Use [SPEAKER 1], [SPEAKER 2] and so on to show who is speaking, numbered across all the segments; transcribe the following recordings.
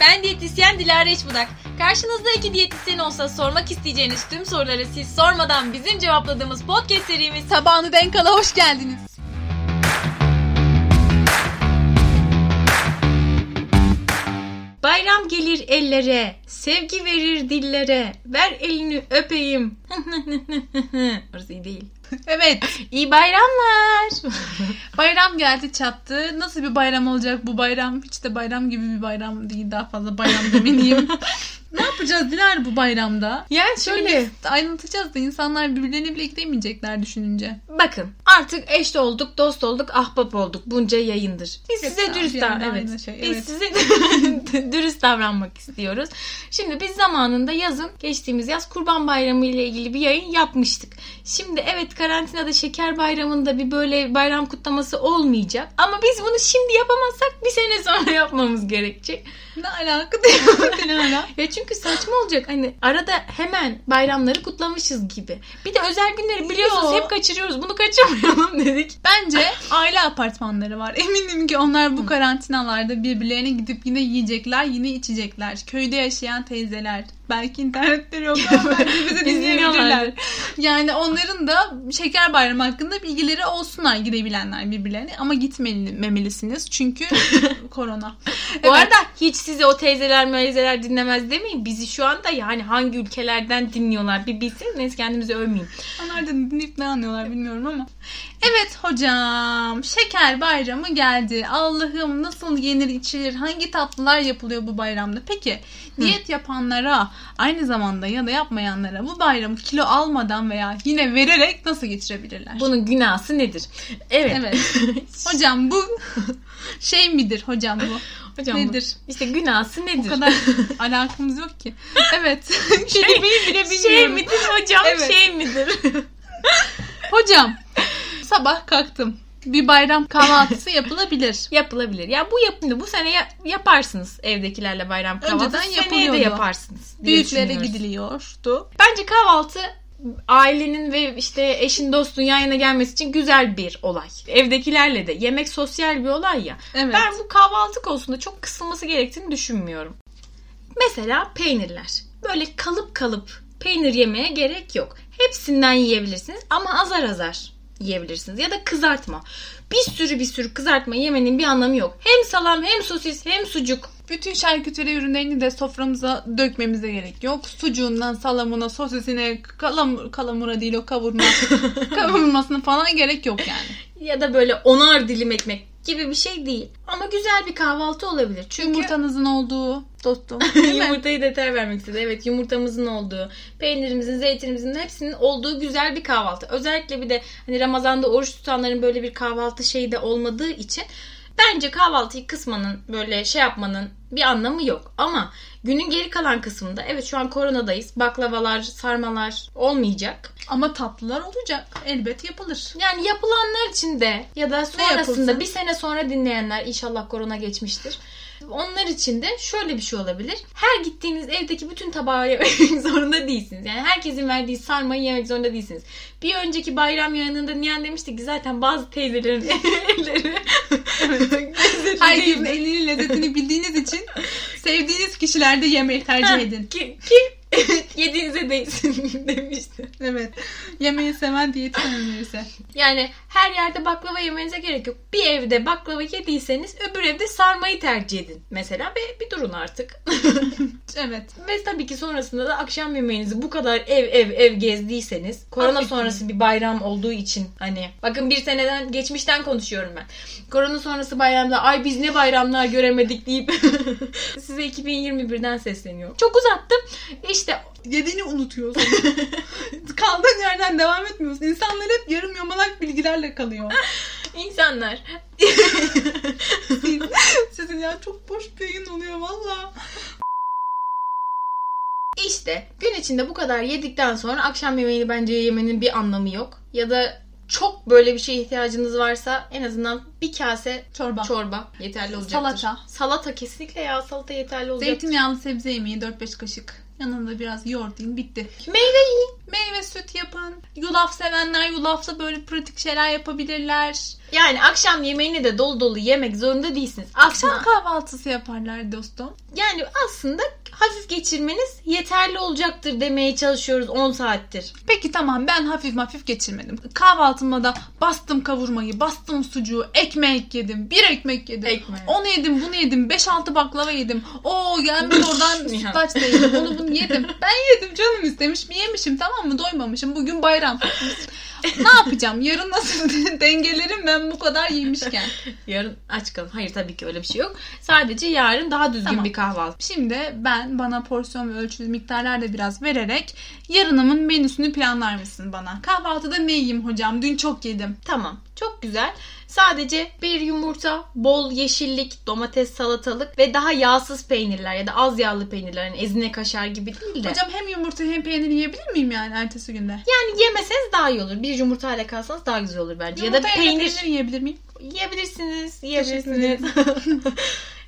[SPEAKER 1] Ben diyetisyen Dilara Eşbudak. Karşınızda iki diyetisyen olsa sormak isteyeceğiniz tüm soruları siz sormadan bizim cevapladığımız podcast serimiz
[SPEAKER 2] Sabahını denk ala hoş geldiniz.
[SPEAKER 1] Bayram gelir ellere, sevgi verir dillere, ver elini öpeyim. Orası iyi değil.
[SPEAKER 2] Evet
[SPEAKER 1] İyi bayramlar.
[SPEAKER 2] bayram geldi çattı. Nasıl bir bayram olacak bu bayram? Hiç de bayram gibi bir bayram değil daha fazla bayram demeliyim. ne yapacağız Dilar bu bayramda?
[SPEAKER 1] yani
[SPEAKER 2] Şöyle ayrıntacağız da insanlar birbirlerini bile eklemeyecekler düşününce.
[SPEAKER 1] bakın artık eş olduk, dost olduk, ahbap olduk. Bunca yayındır. Biz size
[SPEAKER 2] Hepsi
[SPEAKER 1] dürüst
[SPEAKER 2] aynı
[SPEAKER 1] davran- evet.
[SPEAKER 2] şey,
[SPEAKER 1] Biz
[SPEAKER 2] evet.
[SPEAKER 1] size dürüst davranmak istiyoruz. Şimdi biz zamanında yazın, geçtiğimiz yaz Kurban Bayramı ile ilgili bir yayın yapmıştık. Şimdi evet karantinada Şeker Bayramı'nda bir böyle bayram kutlaması olmayacak. Ama biz bunu şimdi yapamazsak bir sene sonra yapmamız gerekecek.
[SPEAKER 2] Ne alaka diyor. ne alaka?
[SPEAKER 1] Ya çünkü saçma olacak hani arada hemen bayramları kutlamışız gibi. Bir de özel günleri biliyorsunuz
[SPEAKER 2] Yo.
[SPEAKER 1] hep kaçırıyoruz. Bunu kaçırmayalım dedik.
[SPEAKER 2] Bence aile apartmanları var. Eminim ki onlar bu karantinalarda birbirlerine gidip yine yiyecekler, yine içecekler. Köyde yaşayan teyzeler. Belki internetleri yok ama belki bizi dinleyebilirler.
[SPEAKER 1] İzliyorlar.
[SPEAKER 2] Yani onların da şeker bayramı hakkında bilgileri olsunlar gidebilenler birbirlerine. Ama gitmemelisiniz çünkü korona.
[SPEAKER 1] Bu arada hiç size o teyzeler meyzeler dinlemez demeyin. Bizi şu anda yani hangi ülkelerden dinliyorlar bir bilseniz. Neyse kendimizi övmeyeyim.
[SPEAKER 2] Onlar da dinleyip ne anlıyorlar bilmiyorum ama. Evet hocam şeker bayramı geldi. Allah'ım nasıl yenir içilir hangi tatlılar yapılıyor bu bayramda? Peki diyet yapanlara aynı zamanda ya da yapmayanlara bu bayramı kilo almadan veya yine vererek nasıl geçirebilirler?
[SPEAKER 1] Bunun günahı nedir? Evet.
[SPEAKER 2] Evet. hocam bu şey midir hocam bu?
[SPEAKER 1] Hocam bu-
[SPEAKER 2] Nedir?
[SPEAKER 1] İşte günahı nedir?
[SPEAKER 2] Bu kadar alakamız yok ki. Evet.
[SPEAKER 1] şey,
[SPEAKER 2] bile
[SPEAKER 1] şey midir hocam
[SPEAKER 2] Evet.
[SPEAKER 1] şey midir?
[SPEAKER 2] Hocam sabah kalktım. Bir bayram kahvaltısı yapılabilir.
[SPEAKER 1] Yapılabilir. Ya bu yapımda bu sene ya- yaparsınız evdekilerle bayram kahvaltısı.
[SPEAKER 2] Önceden
[SPEAKER 1] Seneye de
[SPEAKER 2] yapılıyordu.
[SPEAKER 1] yaparsınız. diye
[SPEAKER 2] Büyüklere
[SPEAKER 1] düşünüyoruz.
[SPEAKER 2] gidiliyordu.
[SPEAKER 1] Bence kahvaltı ailenin ve işte eşin dostun yan yana gelmesi için güzel bir olay. Evdekilerle de. Yemek sosyal bir olay ya.
[SPEAKER 2] Evet.
[SPEAKER 1] Ben bu kahvaltı konusunda çok kısılması gerektiğini düşünmüyorum. Mesela peynirler. Böyle kalıp kalıp peynir yemeye gerek yok. Hepsinden yiyebilirsiniz ama azar azar yiyebilirsiniz. Ya da kızartma. Bir sürü bir sürü kızartma yemenin bir anlamı yok. Hem salam hem sosis hem sucuk.
[SPEAKER 2] Bütün şarküteri ürünlerini de soframıza dökmemize gerek yok. Sucuğundan salamına, sosisine, kalam kalamura değil o kavurma, kavurmasına falan gerek yok yani.
[SPEAKER 1] Ya da böyle onar dilim ekmek gibi bir şey değil. Ama güzel bir kahvaltı olabilir. Çünkü
[SPEAKER 2] Yumurtanızın olduğu dostum.
[SPEAKER 1] Yumurtayı detay vermek istedi. Evet yumurtamızın olduğu, peynirimizin, zeytinimizin hepsinin olduğu güzel bir kahvaltı. Özellikle bir de hani Ramazan'da oruç tutanların böyle bir kahvaltı şeyi de olmadığı için bence kahvaltıyı kısmanın böyle şey yapmanın bir anlamı yok. Ama günün geri kalan kısmında evet şu an koronadayız. Baklavalar, sarmalar olmayacak.
[SPEAKER 2] Ama tatlılar olacak. Elbet yapılır.
[SPEAKER 1] Yani yapılanlar için de ya da sonrasında
[SPEAKER 2] yapılsın?
[SPEAKER 1] bir sene sonra dinleyenler inşallah korona geçmiştir. Onlar için de şöyle bir şey olabilir. Her gittiğiniz evdeki bütün tabağı yemek zorunda değilsiniz. Yani herkesin verdiği sarmayı yemek zorunda değilsiniz. Bir önceki bayram yayınında Nihan demişti ki zaten bazı teyzelerin elleri lezzetli
[SPEAKER 2] Herkesin
[SPEAKER 1] değildi.
[SPEAKER 2] elinin lezzetini bildiğiniz için sevdiğiniz kişilerde yemeği tercih
[SPEAKER 1] Ha,
[SPEAKER 2] edin.
[SPEAKER 1] Ki, ki yediğinize değsin demişti.
[SPEAKER 2] Evet. Yemeği seven diyetisyen önerirse.
[SPEAKER 1] Yani her yerde baklava yemenize gerek yok. Bir evde baklava yediyseniz öbür evde sarmayı tercih edin mesela ve bir durun artık.
[SPEAKER 2] Evet.
[SPEAKER 1] ve tabii ki sonrasında da akşam yemeğinizi bu kadar ev ev ev gezdiyseniz korona
[SPEAKER 2] Affedin.
[SPEAKER 1] sonrası bir bayram olduğu için hani bakın bir seneden geçmişten konuşuyorum ben. Korona sonrası bayramda ay biz ne bayramlar göremedik deyip size 2021'den sesleniyorum. Çok uzattım. İşte
[SPEAKER 2] yediğini unutuyorsun. Kaldığın yerden devam etmiyorsun. İnsanlar hep yarım yamalak bilgilerle kalıyor.
[SPEAKER 1] insanlar
[SPEAKER 2] Siz- Sizin ya çok boş bir yayın oluyor valla.
[SPEAKER 1] İşte gün içinde bu kadar yedikten sonra akşam yemeğini bence yemenin bir anlamı yok. Ya da çok böyle bir şeye ihtiyacınız varsa en azından bir kase
[SPEAKER 2] Çorba.
[SPEAKER 1] çorba yeterli olacaktır.
[SPEAKER 2] Salata.
[SPEAKER 1] Salata kesinlikle ya salata yeterli olacaktır.
[SPEAKER 2] Zeytinyağlı sebze yemeği 4-5 kaşık. Yanında biraz yoğurt yiyin bitti.
[SPEAKER 1] Meyve yiyin.
[SPEAKER 2] Meyve süt yapın. Yulaf sevenler yulafla böyle pratik şeyler yapabilirler.
[SPEAKER 1] Yani akşam yemeğini de dolu dolu yemek zorunda değilsiniz. Aslında,
[SPEAKER 2] Akşam kahvaltısı yaparlar dostum.
[SPEAKER 1] yani aslında hafif geçirmeniz yeterli olacaktır demeye çalışıyoruz 10 saattir.
[SPEAKER 2] Peki tamam ben hafif hafif geçirmedim. Kahvaltımda da bastım kavurmayı, bastım sucuğu, ekmek yedim, bir ekmek yedim.
[SPEAKER 1] Ekmek.
[SPEAKER 2] Onu yedim, bunu yedim, 5-6 baklava yedim. Oo gelmiş oradan
[SPEAKER 1] Ya.
[SPEAKER 2] sütlaç da yedim, onu bunu yedim. Ben yedim canım istemiş, mi yemişim tamam mı? Doymamışım, bugün bayram. ne yapacağım? Yarın nasıl dengelerim ben bu kadar yemişken?
[SPEAKER 1] Yarın aç kalın. Hayır tabii ki öyle bir şey yok. Sadece yarın daha düzgün
[SPEAKER 2] Tamam.
[SPEAKER 1] bir kahvaltı.
[SPEAKER 2] Şimdi ben bana porsiyon ve ölçülü miktarlar da biraz vererek yarınımın menüsünü planlar mısın bana? Kahvaltıda ne yiyeyim hocam? Dün çok yedim.
[SPEAKER 1] Tamam. Çok güzel. Sadece bir yumurta, bol yeşillik, domates, salatalık ve daha yağsız peynirler ya da az yağlı peynirler. Yani ezine kaşar gibi değil de.
[SPEAKER 2] Hocam hem yumurta hem peynir yiyebilir miyim yani ertesi günde?
[SPEAKER 1] yani yemeseniz daha iyi olur. Bir yumurtayla kalsanız daha güzel olur bence. ya da
[SPEAKER 2] Yumurta yerine
[SPEAKER 1] peynir
[SPEAKER 2] yiyebilir miyim?
[SPEAKER 1] yiyebilirsiniz. Yiyebilirsiniz.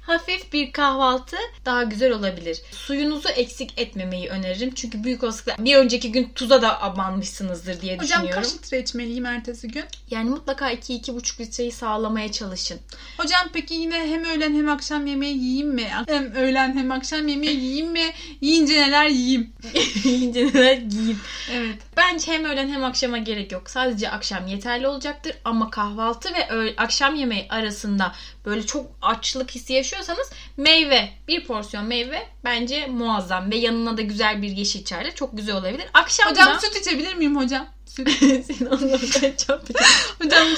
[SPEAKER 1] Hafif bir kahvaltı daha güzel olabilir. Suyunuzu eksik etmemeyi öneririm. Çünkü büyük olasılıkla bir önceki gün tuza da abanmışsınızdır diye
[SPEAKER 2] Hocam
[SPEAKER 1] düşünüyorum.
[SPEAKER 2] kaç litre içmeliyim ertesi gün?
[SPEAKER 1] Yani mutlaka 2-2,5 litreyi sağlamaya çalışın.
[SPEAKER 2] Hocam peki yine hem öğlen hem akşam yemeği yiyeyim mi? Hem öğlen hem akşam yemeği yiyeyim mi? Yiyince neler yiyeyim?
[SPEAKER 1] İyice neler giyin.
[SPEAKER 2] Evet.
[SPEAKER 1] Bence hem öğlen hem akşama gerek yok. Sadece akşam yeterli olacaktır. Ama kahvaltı ve öğ- akşam yemeği arasında böyle çok açlık hissi yaşıyorsanız meyve, bir porsiyon meyve bence muazzam. Ve yanına da güzel bir yeşil çayla çok güzel olabilir. Akşam
[SPEAKER 2] Hocam
[SPEAKER 1] da...
[SPEAKER 2] süt içebilir miyim hocam? Süt.
[SPEAKER 1] Sen onları ben çok-
[SPEAKER 2] hocam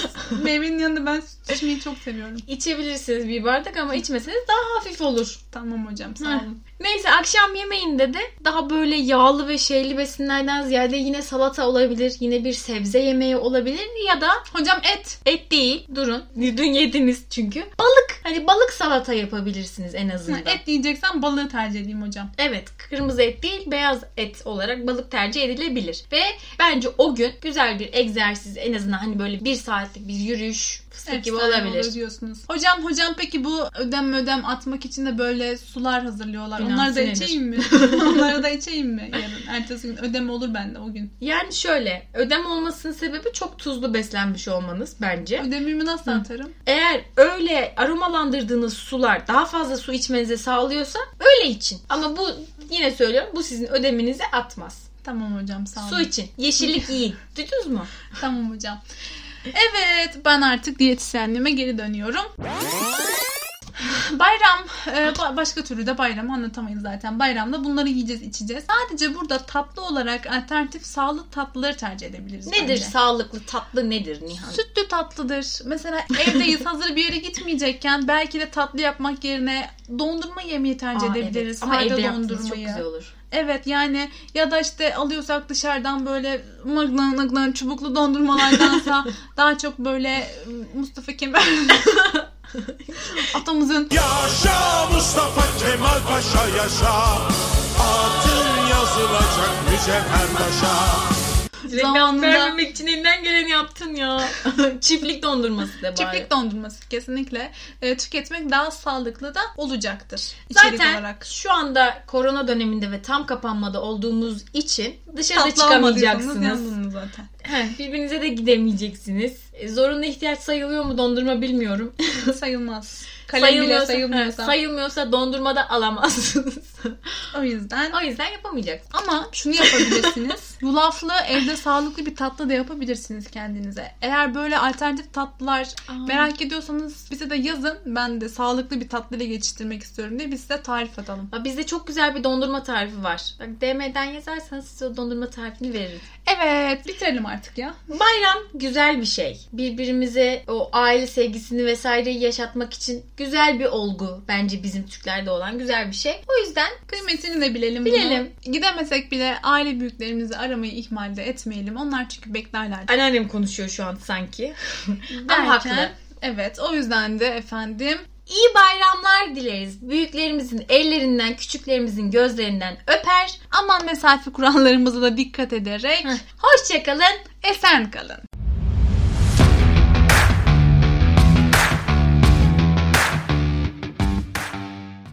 [SPEAKER 2] meyvenin yanında ben süt içmeyi çok seviyorum.
[SPEAKER 1] İçebilirsiniz bir bardak ama içmeseniz daha hafif olur.
[SPEAKER 2] Tamam hocam sağ
[SPEAKER 1] Heh.
[SPEAKER 2] olun.
[SPEAKER 1] Neyse akşam yemeğinde de daha böyle yağlı ve şeyli besinlerden ziyade yine salata olabilir. Yine bir sebze yemeği olabilir ya da
[SPEAKER 2] Hocam et.
[SPEAKER 1] Et değil. Durun. Dün yediniz çünkü. Balık. Hani balık salata yapabilirsiniz en
[SPEAKER 2] Ha,
[SPEAKER 1] azından.
[SPEAKER 2] Et yiyeceksen balığı tercih edeyim hocam.
[SPEAKER 1] Evet. Kırmızı et değil beyaz et olarak balık tercih edilebilir. Ve bence o gün güzel bir egzersiz en azından hani böyle bir saatlik bir yürüyüş fıstık gibi
[SPEAKER 2] Efsane
[SPEAKER 1] olabilir.
[SPEAKER 2] olur diyorsunuz. Hocam hocam peki bu ödem ödem atmak için de böyle sular hazırlıyorlar.
[SPEAKER 1] Bilmem,
[SPEAKER 2] Onları da
[SPEAKER 1] sinirdir.
[SPEAKER 2] içeyim mi? Onları da içeyim mi yarın? Ertesi gün ödem olur bende o gün.
[SPEAKER 1] Yani şöyle ödem olmasının sebebi çok tuzlu beslenmiş olmanız bence.
[SPEAKER 2] Ödemimi nasıl
[SPEAKER 1] Hı.
[SPEAKER 2] atarım?
[SPEAKER 1] Eğer öyle aromalandırdığınız sular daha fazla su içmenize sağlıyorsa öyle için. Ama bu yine söylüyorum bu sizin ödeminize atmaz.
[SPEAKER 2] Tamam hocam sağ olun.
[SPEAKER 1] Su için. Yeşillik yiyin. Duydunuz mu?
[SPEAKER 2] Tamam hocam. Evet ben artık diyetisyenliğime geri dönüyorum. Bayram e, ba- başka türlü de bayramı anlatamayız zaten. Bayramda bunları yiyeceğiz içeceğiz. Sadece burada tatlı olarak alternatif sağlıklı tatlıları tercih edebiliriz.
[SPEAKER 1] Nedir
[SPEAKER 2] bence.
[SPEAKER 1] sağlıklı tatlı nedir Nihan?
[SPEAKER 2] Sütlü tatlıdır. Mesela evdeyiz hazır bir yere gitmeyecekken belki de tatlı yapmak yerine dondurma yemeği tercih
[SPEAKER 1] Aa,
[SPEAKER 2] edebiliriz.
[SPEAKER 1] evet. Ama
[SPEAKER 2] Sade
[SPEAKER 1] evde yaptığınız çok
[SPEAKER 2] dondurmayı.
[SPEAKER 1] güzel olur.
[SPEAKER 2] Evet yani ya da işte alıyorsak dışarıdan böyle mıglan mıglan çubuklu dondurmalardansa daha çok böyle ıı, Mustafa Kemal atamızın
[SPEAKER 3] Yaşa Mustafa Kemal Paşa yaşa Adın yazılacak mücevher taşa
[SPEAKER 2] Zamanında-
[SPEAKER 1] Reklam vermemek için elinden geleni yaptın ya. Çiftlik dondurması de bari.
[SPEAKER 2] çiftlik dondurması kesinlikle e, tüketmek daha sağlıklı da olacaktır. içerik
[SPEAKER 1] Zaten
[SPEAKER 2] olarak.
[SPEAKER 1] şu anda korona döneminde ve tam kapanmada olduğumuz için dışarıda
[SPEAKER 2] Tatlı almadıysanız
[SPEAKER 1] çıkamayacaksınız.
[SPEAKER 2] yandınız zaten.
[SPEAKER 1] Heh, Birbirinize de gidemeyeceksiniz. E, Zorunlu ihtiyaç sayılıyor mu dondurma bilmiyorum.
[SPEAKER 2] Sayılmaz. Kalem bile sayılmıyorsa.
[SPEAKER 1] He, sayılmıyorsa dondurmada alamazsınız.
[SPEAKER 2] o yüzden
[SPEAKER 1] o yüzden yapamayacaksınız.
[SPEAKER 2] Ama şunu yapabilirsiniz. Yulaflı evde sağlıklı bir tatlı da yapabilirsiniz kendinize. Eğer böyle alternatif tatlılar merak ediyorsanız bize de yazın. Ben de sağlıklı bir tatlıyla geçiştirmek istiyorum diye biz size tarif atalım.
[SPEAKER 1] Aa, Bizde çok güzel bir dondurma tarifi var. Bak DM'den yazarsanız size o dondurma tarifini veririz.
[SPEAKER 2] Evet bitirelim artık ya.
[SPEAKER 1] Bayram güzel bir şey. Birbirimize o aile sevgisini vesaireyi yaşatmak için güzel bir olgu. Bence bizim Türklerde olan güzel bir şey. O yüzden
[SPEAKER 2] Kıymetini de bilelim. bunu.
[SPEAKER 1] Bilelim.
[SPEAKER 2] Gidemesek bile aile büyüklerimizi aramayı ihmal de etmeyelim. Onlar çünkü beklerler.
[SPEAKER 1] anneannem konuşuyor şu an sanki.
[SPEAKER 2] Derken-
[SPEAKER 1] Ama haklı.
[SPEAKER 2] Evet o yüzden de efendim
[SPEAKER 1] İyi bayramlar dileriz. Büyüklerimizin ellerinden, küçüklerimizin gözlerinden öper.
[SPEAKER 2] aman mesafe kurallarımıza da dikkat ederek
[SPEAKER 1] Hoşçakalın.
[SPEAKER 2] esen kalın.